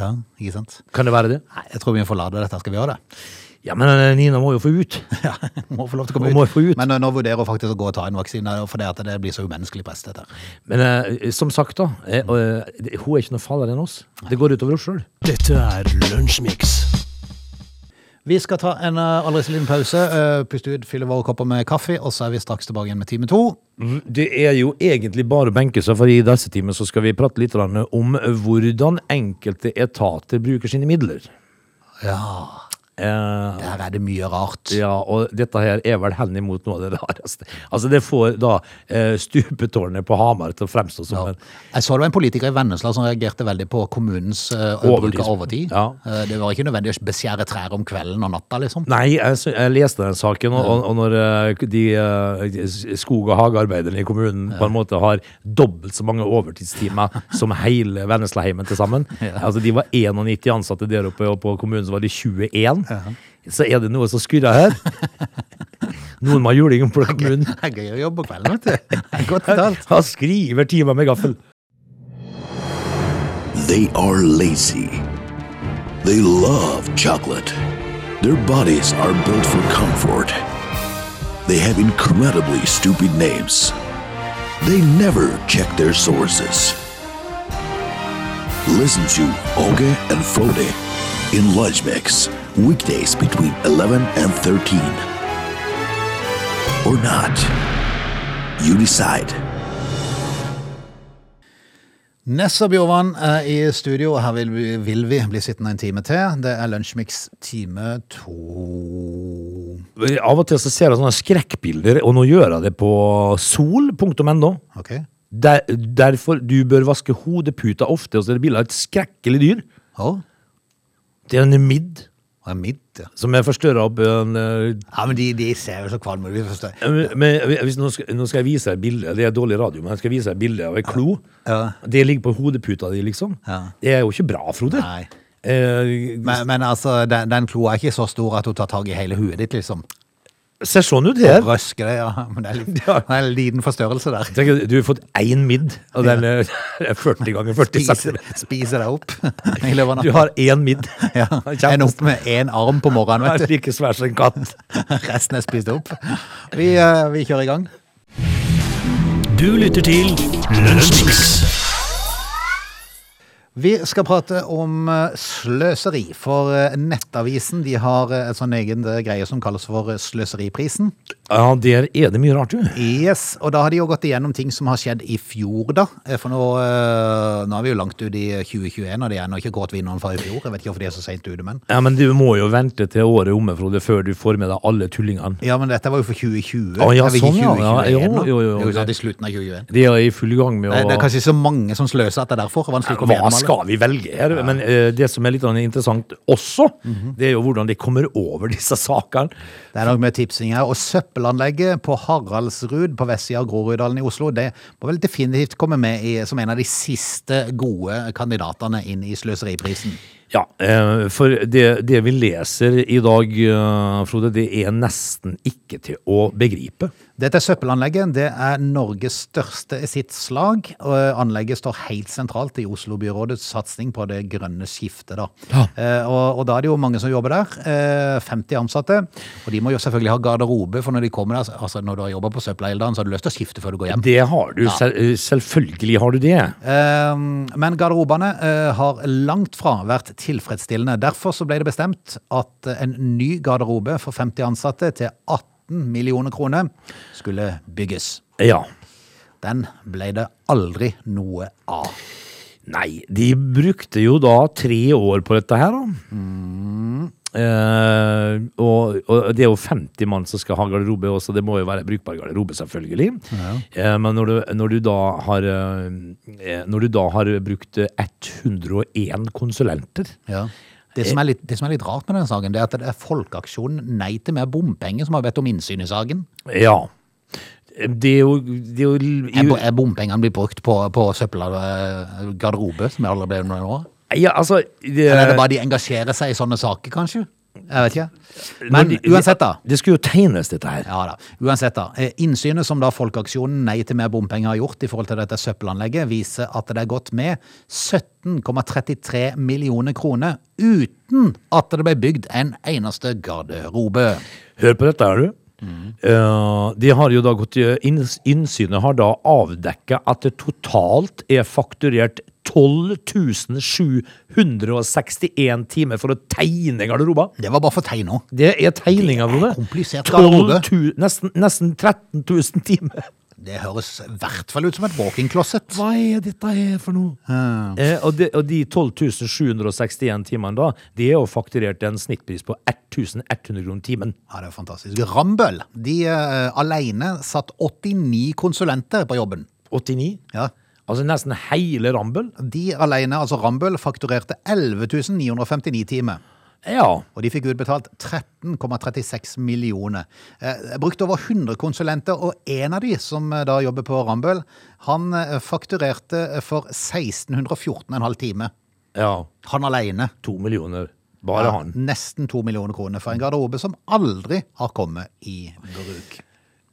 Speaker 1: Ja, ikke sant?
Speaker 3: Kan det være det?
Speaker 1: Nei, jeg tror vi må forlate dette. Skal vi gjøre det? (laughs)
Speaker 3: Ja, men eh, Nina må jo få ut.
Speaker 1: Ja, må få lov til å komme
Speaker 3: Må-
Speaker 1: ut.
Speaker 3: må få ut.
Speaker 1: Men eh, nå- nå vurderer hun faktisk å gå og ta en vaksine, for det, at det blir så umenneskelig press, dette. her.
Speaker 3: Men eh, som sagt, da. eh, eh, det- hun er ikke noe farligere enn oss. Det går utover oss sjøl.
Speaker 2: Dette er Lunsjmix.
Speaker 1: Vi skal ta en eh, aldri så liten pause. eh, Puste ut, fylle våre kopper med kaffe, og så er vi straks tilbake igjen med time to.
Speaker 3: Det er jo egentlig bare å benke seg, for i disse timer så skal vi prate litt grann om hvordan enkelte etater bruker sine midler.
Speaker 1: Ja.
Speaker 3: Eh,
Speaker 1: Der er det mye rart.
Speaker 3: ja, og dette her er vel henimot noe av det rareste. Altså, det får da eh, stupetårnet på Hamar til å fremstå som en
Speaker 1: Jeg så det var en politiker i Vennesla som reagerte veldig på kommunens eh,
Speaker 3: Overtid.
Speaker 1: bruk av overtid.
Speaker 3: Ja.
Speaker 1: Eh, det var ikke nødvendig å beskjære trær om kvelden og natta, liksom.
Speaker 3: Nei, jeg, sy- jeg leste den saken, og, og- og når eh, de eh, s- skog- og hagearbeiderne i kommunen på en måte har dobbelt så mange overtidstimer
Speaker 1: (laughs)
Speaker 3: som hele Venneslaheimen til sammen Altså, de var 91 ansatte der oppe, og på kommunen så var de 21. Så er det noe som
Speaker 1: (laughs)
Speaker 3: skurrer her. Noen må ha juling på kommunen.
Speaker 1: (laughs) Det er gøy å jobbe på kvelden, vet
Speaker 3: (laughs)
Speaker 1: du. Det er Godt betalt.
Speaker 3: Han skriver timer med gaffel.
Speaker 4: They are lazy. They love chocolate. Their bodies are built for comfort. They have incredibly stupid names. They never check their sources. Listen to Oge and Frode in Lunch Mix, weekdays between 11 and 13. Or not. You decide.
Speaker 1: Nessa Bjorvann er i studio, og her vil vi, vil vi bli sittende en time til. Det er Lunsjmix time to.
Speaker 3: Av og til så ser jeg sånne skrekkbilder, og nå gjør jeg det på sol.no.
Speaker 1: OK?
Speaker 3: Der, derfor du bør vaske hodeputa ofte, og så er det bilde av et skrekkelig dyr.
Speaker 1: Å,
Speaker 3: Det er en midd
Speaker 1: det er midt, ja.
Speaker 3: som er forstørra opp en eh,
Speaker 1: Ja, men de, de ser jo så kvalme ut, vi
Speaker 3: (laughs)
Speaker 1: forstår.
Speaker 3: men, eh, hvis, nå, skal, nå skal jeg vise deg et bilde. Det er dårlig radio, men jeg skal vise deg et bilde av en klo.
Speaker 1: Ja.
Speaker 3: Det ligger på hodeputa di, liksom.
Speaker 1: Ja.
Speaker 3: Det er jo ikke bra, Frode.
Speaker 1: Nei.
Speaker 3: Eh,
Speaker 1: Men, men altså, den, den kloa er ikke så stor at hun tar tak i hele huet ditt, liksom.
Speaker 3: ser sånn ut her.
Speaker 1: Røske det, ja. Men det er, litt,
Speaker 3: Ja.
Speaker 1: det er en liten forstørrelse der.
Speaker 3: Tenk, du har fått én midd, og den er (laughs) 40 ganger 40
Speaker 1: Spise,
Speaker 3: cm.
Speaker 1: spise deg opp i løpet av
Speaker 3: Du
Speaker 1: natta.
Speaker 3: har én midd. (laughs)
Speaker 1: Ja, en opp med én arm på morgenen,
Speaker 3: Den er
Speaker 1: vet du.
Speaker 3: like svær som en katt.
Speaker 1: Resten er spist opp. Vi, eh, vi kjører i gang.
Speaker 2: Du lytter til Lunsjmix.
Speaker 1: Vi skal prate om eh, sløseri, for eh, Nettavisen de har eh, en sånn egen eh, greie som kalles for eh, Sløseriprisen.
Speaker 3: (laughs) Ja, der er det mye rart, du.
Speaker 1: Yes, og da har de jo gått igjennom ting som har skjedd i fjor, da. Eh, For nå, eh, nå er vi jo langt ut i 2021, og de er ennå ikke kåret vinneren fra i fjor. Jeg vet ikke hvorfor de er så seint ute, men
Speaker 3: Ja, men du må jo vente til året er omme, Frode, før du får med deg alle tullingene.
Speaker 1: Ja, men dette var jo for 2020.
Speaker 3: Å, ja,
Speaker 1: Er vi ikke
Speaker 3: sånn, ja.
Speaker 1: 2021
Speaker 3: Ja, jo,
Speaker 1: nå?
Speaker 3: jo, jo,
Speaker 1: Det er
Speaker 3: ok.
Speaker 1: jo snart i slutten av 2021.
Speaker 3: De er i full gang med å
Speaker 1: Det, det er kanskje ikke så mange som sløser at det er derfor. Det er vanskelig å komme
Speaker 3: Hva
Speaker 1: gjennom alle.
Speaker 3: skal vi velge her? Men eh, det som er litt sånn interessant også, det er jo hvordan de kommer over (laughs) disse sakene.
Speaker 1: Det er nok mye tipsing her. Og søppelanlegget på Haraldsrud på vestsida av Groruddalen i Oslo, det må vel definitivt komme med i, som en av de siste gode kandidatene inn i sløseriprisen.
Speaker 3: Ja, eh, for det, det vi leser i dag, eh, Frode, det er nesten ikke til å begripe.
Speaker 1: Dette søppelanlegget det er Norges største i sitt slag. og Anlegget står helt sentralt i Oslo-byrådets satsing på det grønne skiftet. Da. Eh, Og, og da er det jo mange som jobber der. eh, 50 ansatte. Og de må jo selvfølgelig ha garderobe, for når de kommer der, altså når du har jobba på søppelheilderen, så har du lyst til å skifte før du går hjem.
Speaker 3: Det har du, sel eh, selvfølgelig har du det.
Speaker 1: Eh, Men garderobene eh, har langt fra vært tilfredsstillende. Derfor så ble det bestemt at eh, en ny garderobe for 50 ansatte til 18 millioner kroner skulle bygges.
Speaker 3: Ja.
Speaker 1: Den ble det aldri noe av.
Speaker 3: Nei, de brukte jo da tre år på dette her, da. Eh, og, og det er jo 50 mann som skal ha garderobe også, det må jo være brukbar garderobe, selvfølgelig. Eh, men når du, når, du da har, eh, når du da har brukt 101 konsulenter
Speaker 1: Det, som er litt, det som er litt rart med denne saken, det er at det er Folkeaksjonen Nei til mer bompenger som har bedt om innsyn i saken.
Speaker 3: Ja. Det er jo, det er jo
Speaker 1: Er, bo- er bompengene blitt brukt på, på søppel av garderobe, som jeg aldri ble med nå?
Speaker 3: Ja, altså det,
Speaker 1: Eller er det bare de engasjerer seg i sånne saker, kanskje? Jeg vet ikke.
Speaker 3: når
Speaker 1: Men
Speaker 3: de-
Speaker 1: uansett, da.
Speaker 3: Det skulle jo tegnes, dette her.
Speaker 1: Ja da. Uansett, da. Eh, Innsynet som da Folkeaksjonen Nei til mer bompenger har gjort i forhold til dette søppelanlegget, viser at det er gått med 17,33 millioner kroner uten at det ble bygd en eneste garderobe.
Speaker 3: Hør på dette, er du. Eh, de har jo da gått i- inns- Innsynet har da avdekka at det totalt er fakturert 12 761 timer for å tegne garderober.
Speaker 1: Det var bare for tegna.
Speaker 3: Det er tegninga, Frode.
Speaker 1: komplisert
Speaker 3: 12
Speaker 1: garderobe.
Speaker 3: 000 Nesten, nesten 13 000 timer.
Speaker 1: Det høres i hvert fall ut som et walk-in-closet.
Speaker 3: Hva er dette her for noe? Eh, og, de, og de 12 761 timene da, de er jo fakturert en snittpris på 1100 kroner timen.
Speaker 1: Ja, det er fantastisk. Rambøll de eh, alene satt 89 konsulenter på jobben.
Speaker 3: 89?
Speaker 1: Ja.
Speaker 3: Altså nesten hele Rambøll?
Speaker 1: De alene, altså Rambøll, fakturerte 11 959 timer.
Speaker 3: Ja.
Speaker 1: Og de fikk utbetalt 13,36 millioner. Eh, jeg brukte over 100 konsulenter, og en av de som eh, da jobber på Rambøll, han eh, fakturerte for 1614,5 time.
Speaker 3: ja.
Speaker 1: Han alene.
Speaker 3: To millioner. Bare han.
Speaker 1: Nesten to millioner kroner for en garderobe som aldri har kommet i bruk.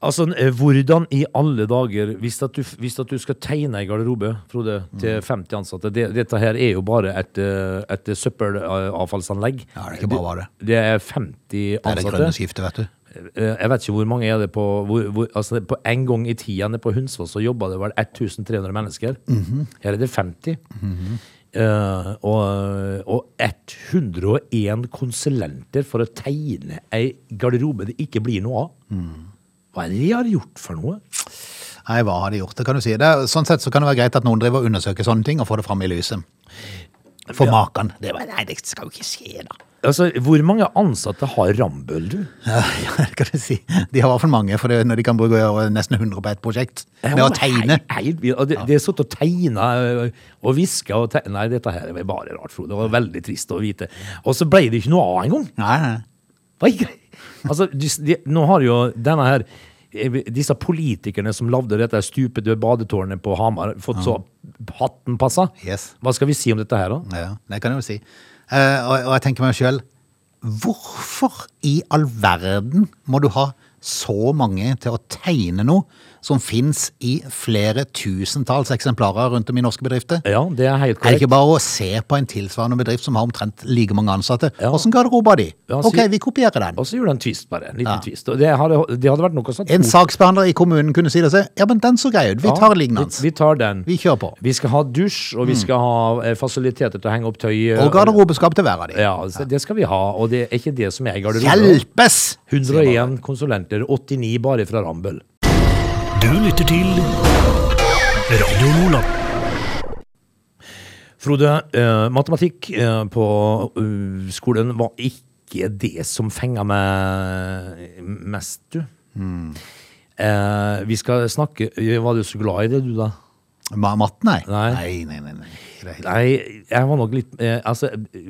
Speaker 3: Altså, eh, hvordan i alle dager, hvis at du, hvis at du skal tegne ei garderobe, Frode,
Speaker 1: Mm.
Speaker 3: til 50 ansatte det, Dette her er jo bare et, eh, et søppelavfallsanlegg.
Speaker 1: Ja, det er ikke bra, var det.
Speaker 3: Det er 50
Speaker 1: Det er det
Speaker 3: ansatte.
Speaker 1: grønne skiftet, vet du.
Speaker 3: Eh, Jeg vet ikke hvor mange er det på hvor, hvor, altså det- På en gang i tida nede på Hunsvoll så jobba det vel 1300 mennesker.
Speaker 1: Mhm.
Speaker 3: Her er det 50. Eh, og, og 101 konsulenter for å tegne ei garderobe det ikke blir noe av.
Speaker 1: Mhm.
Speaker 3: Hva er det de har gjort for noe?
Speaker 1: Nei, hva har de gjort? Det kan du si. Det er, sånn sett så kan det være greit at noen driver og undersøker sånne ting og får det fram i lyset. For maken. Det var, nei, det skal jo ikke skje, da.
Speaker 3: Altså, Hvor mange ansatte har Rambøll, du?
Speaker 1: Ja, (laughs) ja, det kan du si. De har i hvert fall mange, for det, når de kan bruke eh, nesten 100 på et prosjekt. Med å tegne.
Speaker 3: Hei, hei, vi- og det, det er sånn å tegne ø, og hviske og tegne. Nei, dette her er bare rart, Frode. Det var veldig trist å vite. Og så ble det ikke noe av engang.
Speaker 1: Nei, nei.
Speaker 3: Nei, grei- altså, de, de, nå har jo denne her eh, disse politikerne som lagde dette stupede badetårnet på Hamar, fått så hatten passa.
Speaker 1: Yes.
Speaker 3: Hva skal vi si om dette her, da?
Speaker 1: Ja, det kan jeg jo si. Eh, og, og jeg tenker meg sjøl Hvorfor i all verden må du ha så mange til å tegne noe som fins i flere tusentalls eksemplarer rundt om i norske bedrifter?
Speaker 3: Ja, det er helt
Speaker 1: Er det
Speaker 3: Eh, korrekt.
Speaker 1: ikke bare å se på en tilsvarende bedrift som har omtrent like mange ansatte?
Speaker 3: Ja.
Speaker 1: Åssen garderobe har de?
Speaker 3: Ja, så-
Speaker 1: Ok, vi kopierer den.
Speaker 3: Og så gjorde de en twist, bare. En liten
Speaker 1: Ja.
Speaker 3: twist. Og det hadde, det hadde vært noe sånt.
Speaker 1: En saksbehandler i kommunen kunne si det og si ja, men den så grei ut, vi tar
Speaker 3: Vi,
Speaker 1: lignende.
Speaker 3: vi tar den.
Speaker 1: Vi kjører på. Mm.
Speaker 3: Vi skal ha dusj, og vi skal ha eh, fasiliteter til å henge opp tøy.
Speaker 1: Og garderobeskap til hver av de.
Speaker 3: Ja, så det skal vi ha, og det er ikke det som er i garderoben.
Speaker 1: Hjelpes!
Speaker 3: 101 konsulenter hørte dere 89 bare fra Rambøll.
Speaker 2: Du lytter til Radio Nordland.
Speaker 3: Frode, eh, matematikk eh, på eh, skolen var ikke det som fenga meg mest, du. Eh, vi skal snakke Var du så glad i det, du, da?
Speaker 1: Ma matten, nei.
Speaker 3: Nei.
Speaker 1: nei, nei. nei. Ikke det hele tatt.
Speaker 3: Nei, jeg var nok litt eh, Altså,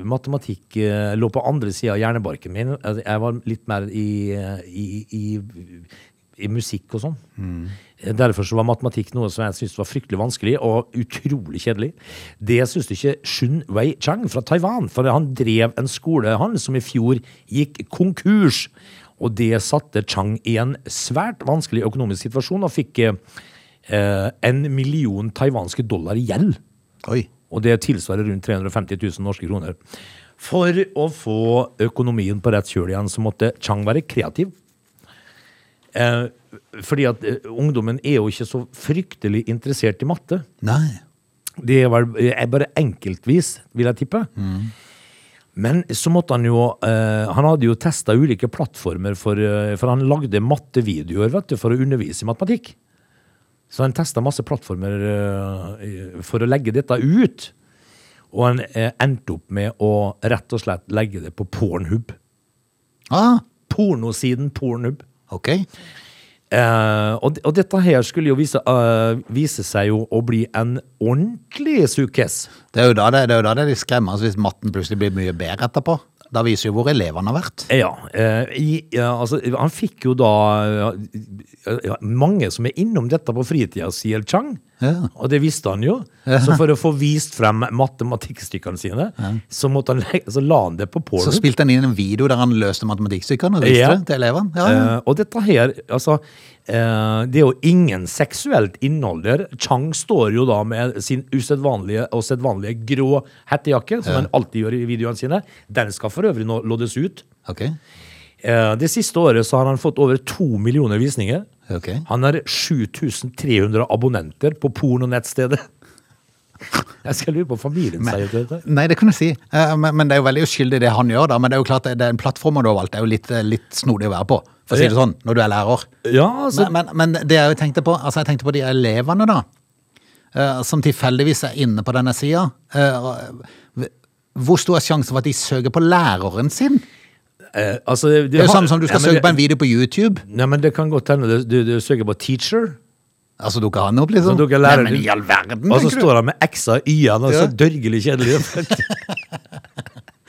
Speaker 3: matematikk eh, lå på andre sida av hjernebarken min. Altså, jeg var litt mer i, eh, i, i, i musikk og sånn. Eh, Derfor så var matematikk noe som jeg syntes var fryktelig vanskelig og utrolig kjedelig. Det syntes ikke Shun Wei Chang fra Taiwan, for han drev en skole, han, som i fjor gikk konkurs. Og det satte Chang i en svært vanskelig økonomisk situasjon og fikk eh, eh, en million taiwanske dollar i gjeld.
Speaker 1: Oi.
Speaker 3: Og det tilsvarer rundt 350 000 norske kroner. For å få økonomien på rett kjøl igjen, så måtte Chang være kreativ. Eh, fordi at eh, ungdommen er jo ikke så fryktelig interessert i matte.
Speaker 1: Nei.
Speaker 3: Det var eh, bare enkeltvis, vil jeg tippe. Men så måtte han jo eh, Han hadde jo testa ulike plattformer, for, eh, for han lagde mattevideoer vet du, for å undervise i matematikk. Så han testa masse plattformer eh, i- for å legge dette ut. Og han eh, endte opp med å rett og slett legge det på Pornhub.
Speaker 1: Ah,
Speaker 3: Pornosiden Pornhub.
Speaker 1: ok.
Speaker 3: Eh, og, og dette her skulle jo vise, eh, vise seg jo å bli en ordentlig sukkes.
Speaker 1: Det er jo da det, det, er jo da det er litt skremmende hvis matten plutselig blir mye bedre etterpå. Da viser jo hvor elevene har vært.
Speaker 3: Ja, eh, i, ja altså, han fikk jo da ja, ja, mange som er innom dette på fritida, sier Chang.
Speaker 1: Ja.
Speaker 3: Og det visste han jo. Så for å få vist frem matematikkstykkene sine, så, måtte han, legge- så la han det
Speaker 1: Så
Speaker 3: på porno.
Speaker 1: spilte han inn en video der han løste matematikkstykkene og viste
Speaker 3: Ja.
Speaker 1: det til elevene. Ja, ja.
Speaker 3: Eh, og dette her, altså eh, Det er jo ingen seksuelt innhold der. Chang står jo da med sin usedvanlige og sedvanlige grå hettejakke, som han alltid gjør i videoene sine. Den skal for øvrig nå loddes ut.
Speaker 1: Ok.
Speaker 3: Eh, Det siste året så har han fått over to millioner visninger.
Speaker 1: Ok.
Speaker 3: Han har 7300 abonnenter på pornonettstedet. (laughs) Jeg skal lure på om familien sier til dette.
Speaker 1: Nei, det kunne du si. Eh, Men, men det er jo veldig uskyldig det han gjør, da. Men det er jo klart, det- det er en plattform du har valgt. Det er jo litt, eh, litt snodig å være på, for å si det sånn, når du er lærer.
Speaker 3: Ja, altså,
Speaker 1: Men, men, men det jeg tenkte på, altså jeg tenkte på de elevene da, eh, som tilfeldigvis er inne på denne sida. eh, Hvor stor er sjansen for at de søker på læreren sin?
Speaker 3: eh, altså Det,
Speaker 1: Det er jo samme som du skal søke på en video på YouTube.
Speaker 3: Nei, men Det kan godt hende du, du, du søker på teacher.
Speaker 1: Altså dukker han opp, liksom.
Speaker 3: Så dukker læreren
Speaker 1: Nei, men
Speaker 3: din-
Speaker 1: i all verden,
Speaker 3: Og så
Speaker 1: tenker du.
Speaker 3: står han med X-a og Y-en, og så
Speaker 1: Ja.
Speaker 3: dørgelig kjedelig.
Speaker 1: (laughs)
Speaker 3: (laughs)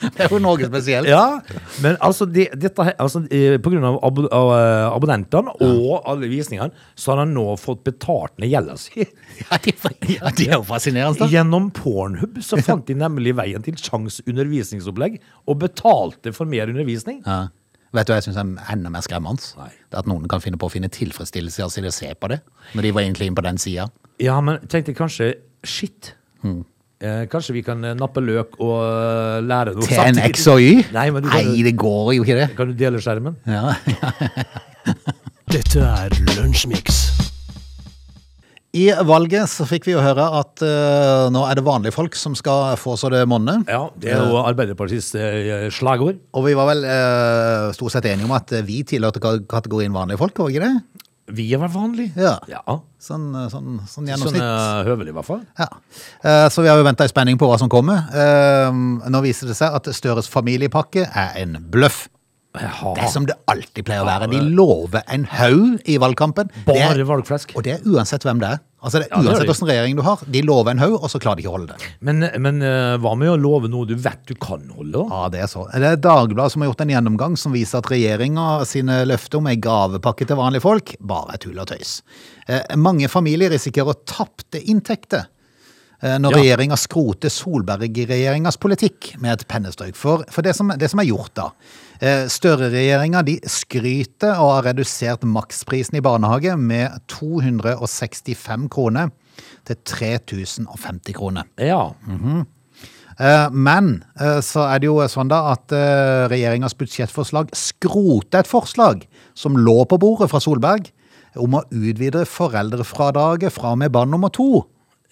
Speaker 1: Det er jo noe spesielt.
Speaker 3: Ja, men altså, det, dette, her- altså eh, På grunn av, abo, av eh, abonnentene og alle visningene, så har han nå fått betalt ned gjelda si.
Speaker 1: (laughs) Ja, de, ja, de er jo fascinerende. da.
Speaker 3: Gjennom
Speaker 1: (laughs)
Speaker 3: Pornhub så fant de nemlig veien til Changs undervisningsopplegg og betalte for mer undervisning.
Speaker 1: Ja. Vet du hva jeg syns er enda mer skremmende?
Speaker 3: Nei.
Speaker 1: Det er At noen kan finne på å finne tilfredsstillelse i altså, å se på det, når de var egentlig inne på den sida.
Speaker 3: Ja, men tenkte kanskje Shit.
Speaker 1: Mm.
Speaker 3: Eh, kanskje vi kan eh, nappe løk og eh, lære noe
Speaker 1: Til en
Speaker 3: samtidig.
Speaker 1: X og Y?
Speaker 3: Nei, men du kan,
Speaker 1: Nei, det går jo ikke, det.
Speaker 3: kan du dele skjermen?
Speaker 1: Ja.
Speaker 2: Dette er Lunsjmix.
Speaker 1: I valget så fikk vi jo høre at eh, nå er det vanlige folk som skal få så det monner.
Speaker 3: Ja, det er jo Arbeiderpartiets eh, slagord.
Speaker 1: Og vi var vel eh, stort sett enige om at vi tilhørte ka- kategorien vanlige folk, var ikke det?
Speaker 3: Vi er vel vanlig?
Speaker 1: Ja.
Speaker 3: ja.
Speaker 1: Sånn, eh, sånn, sånn
Speaker 3: Sånn
Speaker 1: gjennomsnitt.
Speaker 3: eh, høvelig, i hvert fall.
Speaker 1: Ja. Eh, så vi har jo venta i spenning på hva som kommer. Eh, nå viser det seg at Støres familiepakke er en bløff.
Speaker 3: Jaha.
Speaker 1: Det er som det alltid pleier å være. De lover en haug i valgkampen. Det er-
Speaker 3: Bare valgflesk.
Speaker 1: Og det er uansett hvem det er. Altså det er
Speaker 3: Ja, det er
Speaker 1: Uansett
Speaker 3: det.
Speaker 1: hvilken regjering du har, de lover en haug, og så klarer de ikke å holde det.
Speaker 3: Men, men eh, hva med å love noe du vet du kan holde? da?
Speaker 1: Ja, det er så. Det er Dagbladet som har gjort en gjennomgang som viser at regjeringa sine løfter om ei gavepakke til vanlige folk bare er tull og tøys. Eh, mange familier risikerer tapte inntekter eh, når
Speaker 3: Ja.
Speaker 1: regjeringa skroter Solberg-regjeringas politikk med et pennestrøk. For, for det, som, det som er gjort da eh, Støre-regjeringa de skryter og har redusert maksprisen i barnehage med 265 kroner til 3050 kroner.
Speaker 3: Ja.
Speaker 1: Eh, Men eh, så er det jo sånn da at eh, regjeringas budsjettforslag skroter et forslag som lå på bordet fra Solberg om å utvide foreldrefradraget fra og med barn nummer to.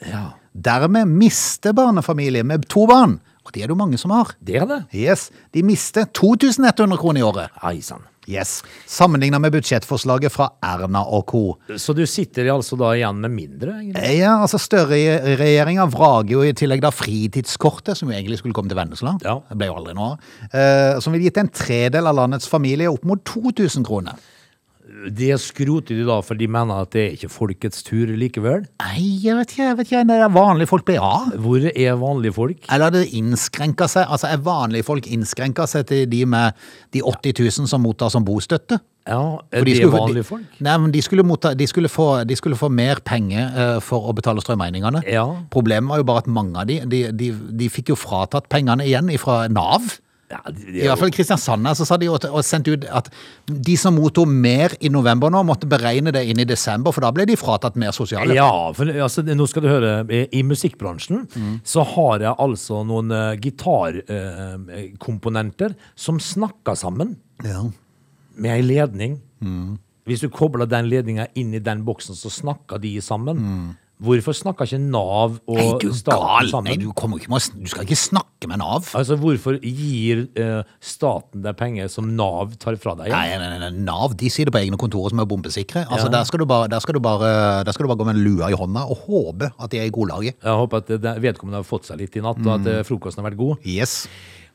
Speaker 3: ja.
Speaker 1: Dermed mister barnefamilier med to barn, og det er det jo mange som har,
Speaker 3: Det er det.
Speaker 1: Yes, de mister 2100 kroner i året.
Speaker 3: Hei sann.
Speaker 1: Yes. Sammenligna med budsjettforslaget fra Erna og co.
Speaker 3: Så du sitter altså da igjen med mindre? egentlig?
Speaker 1: Ja, altså Støre-regjeringa vrager jo i tillegg da fritidskortet, som jo egentlig skulle komme til Vennesla.
Speaker 3: Ja.
Speaker 1: Det ble jo aldri noe av. Eh, Som ville gitt en tredel av landets familier opp mot 2000 kroner.
Speaker 3: Det skroter de da, for de mener at det er ikke folkets tur likevel.
Speaker 1: Nei, jeg vet ikke, jeg vet ikke. Det er vanlige folk blir av.
Speaker 3: Hvor er vanlige folk?
Speaker 1: Eller har det innskrenka seg? Altså, er vanlige folk innskrenka seg til de med de 80 000 som mottar som bostøtte?
Speaker 3: Ja,
Speaker 1: For
Speaker 3: er
Speaker 1: de
Speaker 3: det
Speaker 1: skulle-
Speaker 3: vanlige
Speaker 1: de-
Speaker 3: folk?
Speaker 1: Nei, men de skulle, motta, de skulle, få, de skulle få mer penger eh, for å betale strømregningene.
Speaker 3: Ja.
Speaker 1: Problemet var jo bare at mange av de, de, de, de fikk jo fratatt pengene igjen fra Nav.
Speaker 3: Ja, det
Speaker 1: I hvert fall i Kristiansand her så sa de jo, at- og sendte ut at de som mottok mer i november nå, måtte beregne det inn i desember, for da ble de fratatt mer sosiale.
Speaker 3: Ja, for altså, nå skal du høre. eh, I musikkbransjen
Speaker 1: Mm.
Speaker 3: så har jeg altså noen gitarkomponenter som snakker sammen
Speaker 1: Ja.
Speaker 3: med ei ledning.
Speaker 1: Mm.
Speaker 3: Hvis du kobler den ledninga inn i den boksen, så snakker de sammen. Hvorfor snakker ikke Nav og
Speaker 1: Mm. Nei, du er
Speaker 3: staten
Speaker 1: gal! Nei,
Speaker 3: sammen?
Speaker 1: du, kommer ikke med, å sn- du skal ikke snakke med Nav.
Speaker 3: Altså, hvorfor gir eh, staten deg penger som Nav tar fra deg? igjen?
Speaker 1: Nei, nei, nei, nei, Nav de sier det på egne kontorer som er bombesikre. Altså, der, skal du bare, der, skal du bare, der skal du bare gå med en lua i hånda og håpe at de er i godlaget.
Speaker 3: Jeg håper at eh, vedkommende har fått seg litt i natt, og at
Speaker 1: Mm.
Speaker 3: eh, frokosten har vært god.
Speaker 1: Yes.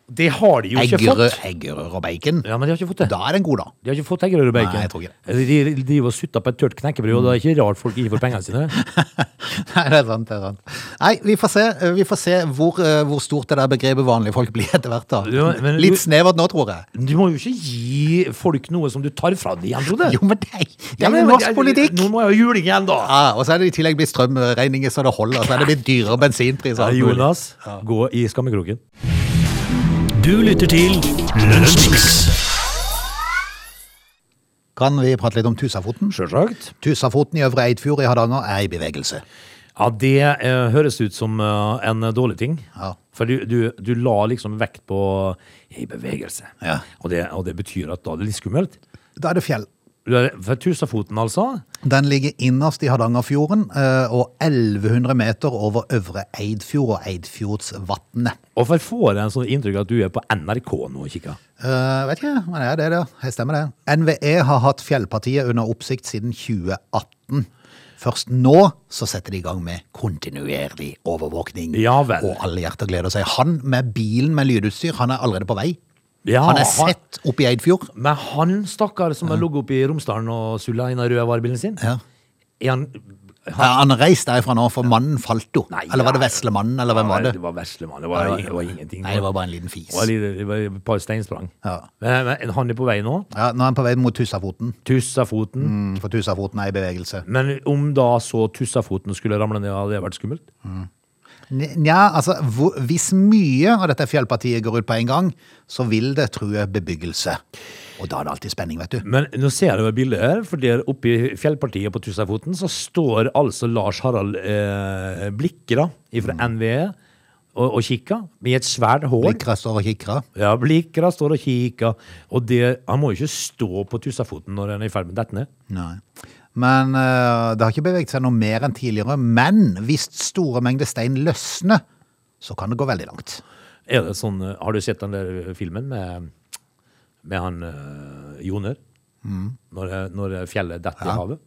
Speaker 3: Det har de jo ikke
Speaker 1: Eggerø-
Speaker 3: fått!
Speaker 1: Eggerør og bacon.
Speaker 3: Ja, men de har ikke fått det.
Speaker 1: Da (laughs) er det en god dag.
Speaker 3: De har ikke fått eggerøre bacon.
Speaker 1: Nei, jeg tror ikke
Speaker 3: De de driver og sutter på et tørt knekkebrød, og det er ikke rart folk ikke får pengene sine.
Speaker 1: (laughs) Nei, det er sant. det er sant. Nei, vi får se, vi får se hvor, eh, hvor stort det der begrepet vanlige folk blir etter hvert. da.
Speaker 3: Ja, men-
Speaker 1: Litt snevert nå, tror jeg.
Speaker 3: Du må jo ikke gi folk noe som du tar fra dem igjen, Frode.
Speaker 1: Jo, men det det
Speaker 3: Ja,
Speaker 1: er
Speaker 3: men-
Speaker 1: jo norsk politikk!
Speaker 3: Nå må jeg ha juling igjen, da.
Speaker 1: Ja, og så er det i tillegg blitt strømregninger så det holder, og så er det blitt dyrere bensinpris. og alt mulig.
Speaker 3: Jonas, gå i skammekroken.
Speaker 2: Du lytter til Lunsjmix.
Speaker 1: Kan vi prate litt om Tusafoten?
Speaker 3: Sjølsagt.
Speaker 1: Tusafoten i Øvre Eidfjord i Hardanger er i bevegelse.
Speaker 3: Ja, det eh, høres ut som eh, en dårlig ting.
Speaker 1: Ja.
Speaker 3: For du, du, du la liksom vekt på eh, i bevegelse.
Speaker 1: Ja.
Speaker 3: Og, det, og det betyr at da er det litt skummelt.
Speaker 1: Da er det fjell.
Speaker 3: Du er- For Tusafoten, altså.
Speaker 1: Den ligger innerst i Hardangerfjorden eh, og 1100 meter over Øvre Eidfjord og Eidfjordsvatnet.
Speaker 3: Og for får jeg en sånn inntrykk at du er på NRK nå og kikker.
Speaker 1: Eh, vet ikke, men det er det, det. Jeg stemmer det. NVE har hatt fjellpartiet under oppsikt siden 2018. Først nå så setter de i gang med kontinuerlig overvåkning.
Speaker 3: Ja vel.
Speaker 1: Og alle hjerter gleder seg. Han med bilen med lydutstyr, han er allerede på vei.
Speaker 3: Ja,
Speaker 1: Han er sett oppe i Eidfjord.
Speaker 3: Men han stakkar som har ligget oppe i Romsdalen og sulla inn av rødvarebilen sin,
Speaker 1: Ja.
Speaker 3: er han
Speaker 1: Ja, Han reiste derfra nå, for mannen falt jo.
Speaker 3: Nei,
Speaker 1: Eller var det
Speaker 3: ja.
Speaker 1: Veslemannen, eller hvem var det?
Speaker 3: Det var veslemann. Det, var- det var ingenting.
Speaker 1: Nei, det var bare en liten fis.
Speaker 3: Det var litt- det var et par steinsprang.
Speaker 1: Ja.
Speaker 3: Men, men han er på vei nå.
Speaker 1: Ja, nå er han på vei mot Tussafoten,
Speaker 3: Tussafoten.
Speaker 1: Mm, for Tussafoten er i bevegelse.
Speaker 3: Men om da så Tussafoten skulle ramle ned, hadde det vært skummelt?
Speaker 1: N- Nja, altså, hvor, hvis mye av dette fjellpartiet går ut på en gang, så vil det true bebyggelse. Og da er det alltid spenning, vet du.
Speaker 3: Men nå ser jeg jo et bilde her, for der oppe i fjellpartiet på Tussafoten så står altså Lars Harald eh, Blikke da, fra NVE, E og, og kikker med et svært hår.
Speaker 1: Blikra står og kikra.
Speaker 3: Ja, blikkene står og kikker. Og det, han må jo ikke stå på tussafoten når han er i ferd med å dette ned.
Speaker 1: Nei. Men eh, det har ikke beveget seg noe mer enn tidligere. Men hvis store mengder stein løsner, så kan det gå veldig langt.
Speaker 3: Er det sånn, eh, har du sett den der filmen med, med han eh, Joner? Når, eh, når fjellet detter i havet?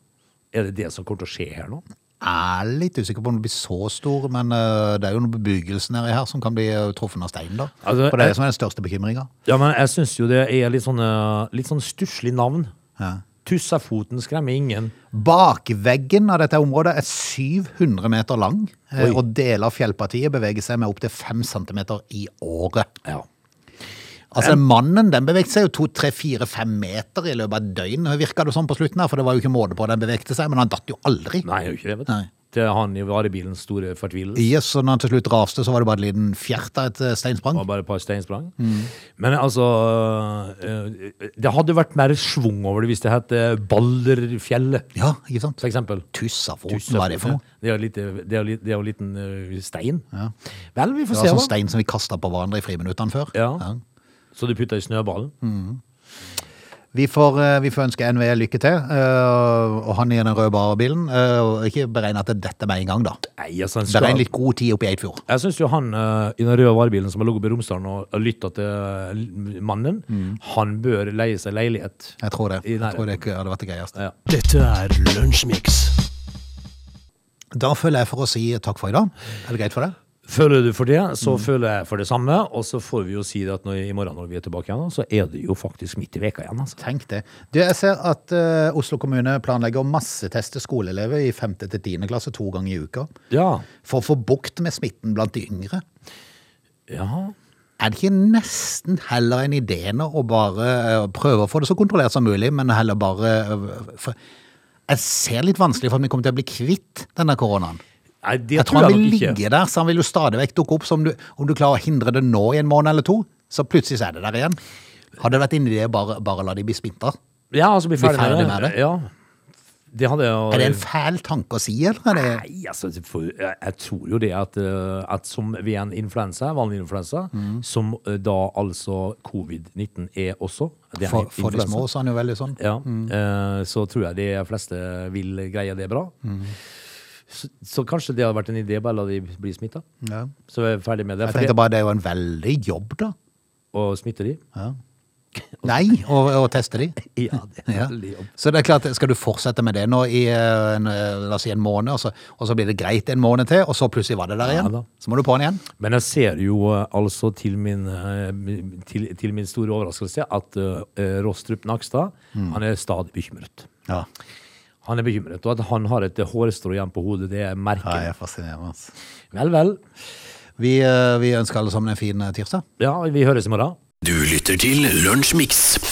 Speaker 3: Er det det som kommer til å skje her nå?
Speaker 1: Jeg er litt usikker på om den blir så stor, men eh, det er jo noen bebyggelse nedi her som kan bli eh, truffet av steinen, da.
Speaker 3: Altså,
Speaker 1: For det er
Speaker 3: jeg-
Speaker 1: det som er den største bekymringa.
Speaker 3: Ja, men jeg syns jo det er litt sånn, eh, litt sånn stusslig navn.
Speaker 1: Ja.
Speaker 3: Tussafoten skremmer ingen.
Speaker 1: Bakveggen av dette området er 700 meter lang, eh, og deler av fjellpartiet beveger seg med opptil 5 cm i året.
Speaker 3: Ja.
Speaker 1: Altså Mannen den bevegde seg jo 2-3-4-5 meter i løpet av et døgn, virka det som på slutten her, for det var jo ikke måte på den bevegte seg, men han datt jo aldri.
Speaker 3: Nei, det er jo ikke det, vet
Speaker 1: Nei.
Speaker 3: du. Det er han i varebilens store fortvilelse.
Speaker 1: Yes, og når han til slutt raste, så var det bare en liten fjert av et eh, steinsprang.
Speaker 3: Og bare et par steinsprang.
Speaker 1: Mm.
Speaker 3: Men altså øh, øh, Det hadde vært mer schwung over det hvis det het øh, Balderfjellet,
Speaker 1: Ja, ikke sant?
Speaker 3: for eksempel.
Speaker 1: Tussafoten, hva er det for noe?
Speaker 3: Det er jo lite- det er jo li- det er jo liten øh, stein. Vel, vi får
Speaker 1: Det var
Speaker 3: se,
Speaker 1: sånn
Speaker 3: da.
Speaker 1: stein som vi kasta på hverandre i friminuttene før. Mm.
Speaker 3: Ja. Så du putta i snøballen?
Speaker 1: Vi får, eh, vi får ønske NVE lykke til, eh, og han i den røde barebilen. eh, og Ikke beregn at det er dette med en gang, da.
Speaker 3: Nei, altså, han
Speaker 1: Det er
Speaker 3: skal-
Speaker 1: en litt god tid oppe i Eidfjord.
Speaker 3: Jeg syns jo han eh, i den røde varebilen som har ligget på Romsdalen og, og lytta til eh, mannen,
Speaker 1: Mm.
Speaker 3: han bør leie seg leilighet.
Speaker 1: Jeg tror det.
Speaker 3: I
Speaker 1: Jeg
Speaker 3: nærheten.
Speaker 1: tror det ikke hadde vært det greieste.
Speaker 3: Ja.
Speaker 2: Dette er Lunsjmix.
Speaker 1: Da føler jeg for å si takk for i dag. Er det greit for deg?
Speaker 3: Føler du for det, så
Speaker 1: Mm.
Speaker 3: føler jeg for det samme. Og så får vi jo si det at når, i morgen når vi er tilbake igjen, så er det jo faktisk midt i veka igjen. Altså.
Speaker 1: Tenk det. Du, jeg ser at eh, Oslo kommune planlegger å masseteste skoleelever i 5. til 10. klasse to ganger i uka.
Speaker 3: Ja.
Speaker 1: For å få bukt med smitten blant de yngre.
Speaker 3: ja.
Speaker 1: Er det ikke nesten heller en idé nå å bare eh, prøve å få det så kontrollert som mulig, men heller bare eh, for Jeg ser litt vanskelig for at vi kommer til å bli kvitt denne koronaen.
Speaker 3: Nei, det
Speaker 1: Jeg tror han vil
Speaker 3: nok ikke.
Speaker 1: ligge der, så han vil jo stadig vekk dukke opp. Så om du, om du klarer å hindre det nå i en måned eller to, så plutselig så er det der igjen. Hadde det vært en idé å bare, bare la de bli spinta?
Speaker 3: Ja, altså bli
Speaker 1: Bli
Speaker 3: ferdig,
Speaker 1: ferdig
Speaker 3: med
Speaker 1: med
Speaker 3: det. Ja. Det hadde jeg
Speaker 1: Er det en fæl tanke å si, eller er det
Speaker 3: Nei, altså, det får- jeg, jeg tror jo det at, eh, at som ved en influensa, vanlig influensa,
Speaker 1: Mm.
Speaker 3: som eh, da altså covid-19 er også det er en
Speaker 1: for, for de
Speaker 3: influensa.
Speaker 1: små, så er han jo veldig sånn.
Speaker 3: Ja, eh, så tror jeg de fleste vil greie det bra.
Speaker 1: Mm.
Speaker 3: Så, så kanskje det hadde vært en idé, bare la de bli smitta.
Speaker 1: Ja.
Speaker 3: Så er vi ferdig med det.
Speaker 1: Jeg
Speaker 3: For
Speaker 1: tenkte
Speaker 3: det
Speaker 1: bare det er jo en veldig jobb, da.
Speaker 3: og smitte de.
Speaker 1: Nei, å å teste de.
Speaker 3: (laughs) Ja, det er
Speaker 1: Ja.
Speaker 3: veldig jobb.
Speaker 1: Så det er klart, skal du fortsette med det nå i eh, en, eh, la oss si en måned, og så, og så blir det greit en måned til, og så plutselig var det der
Speaker 3: Ja
Speaker 1: igjen?
Speaker 3: da.
Speaker 1: så må du på'n igjen?
Speaker 3: Men jeg ser jo eh, altså til min, eh, til, til min store overraskelse at eh, Rostrup Nakstad
Speaker 1: Mm.
Speaker 3: han er stadig bekymret.
Speaker 1: Ja.
Speaker 3: Han er bekymret, og at han har et hårstrå igjen på hodet, det merker jeg.
Speaker 1: er fascinerende. altså.
Speaker 3: Vel, vel.
Speaker 1: Vi, eh, vi ønsker alle sammen en fin eh, tirsdag.
Speaker 3: Ja, vi høres i morgen.
Speaker 2: Du lytter til Lunsjmix.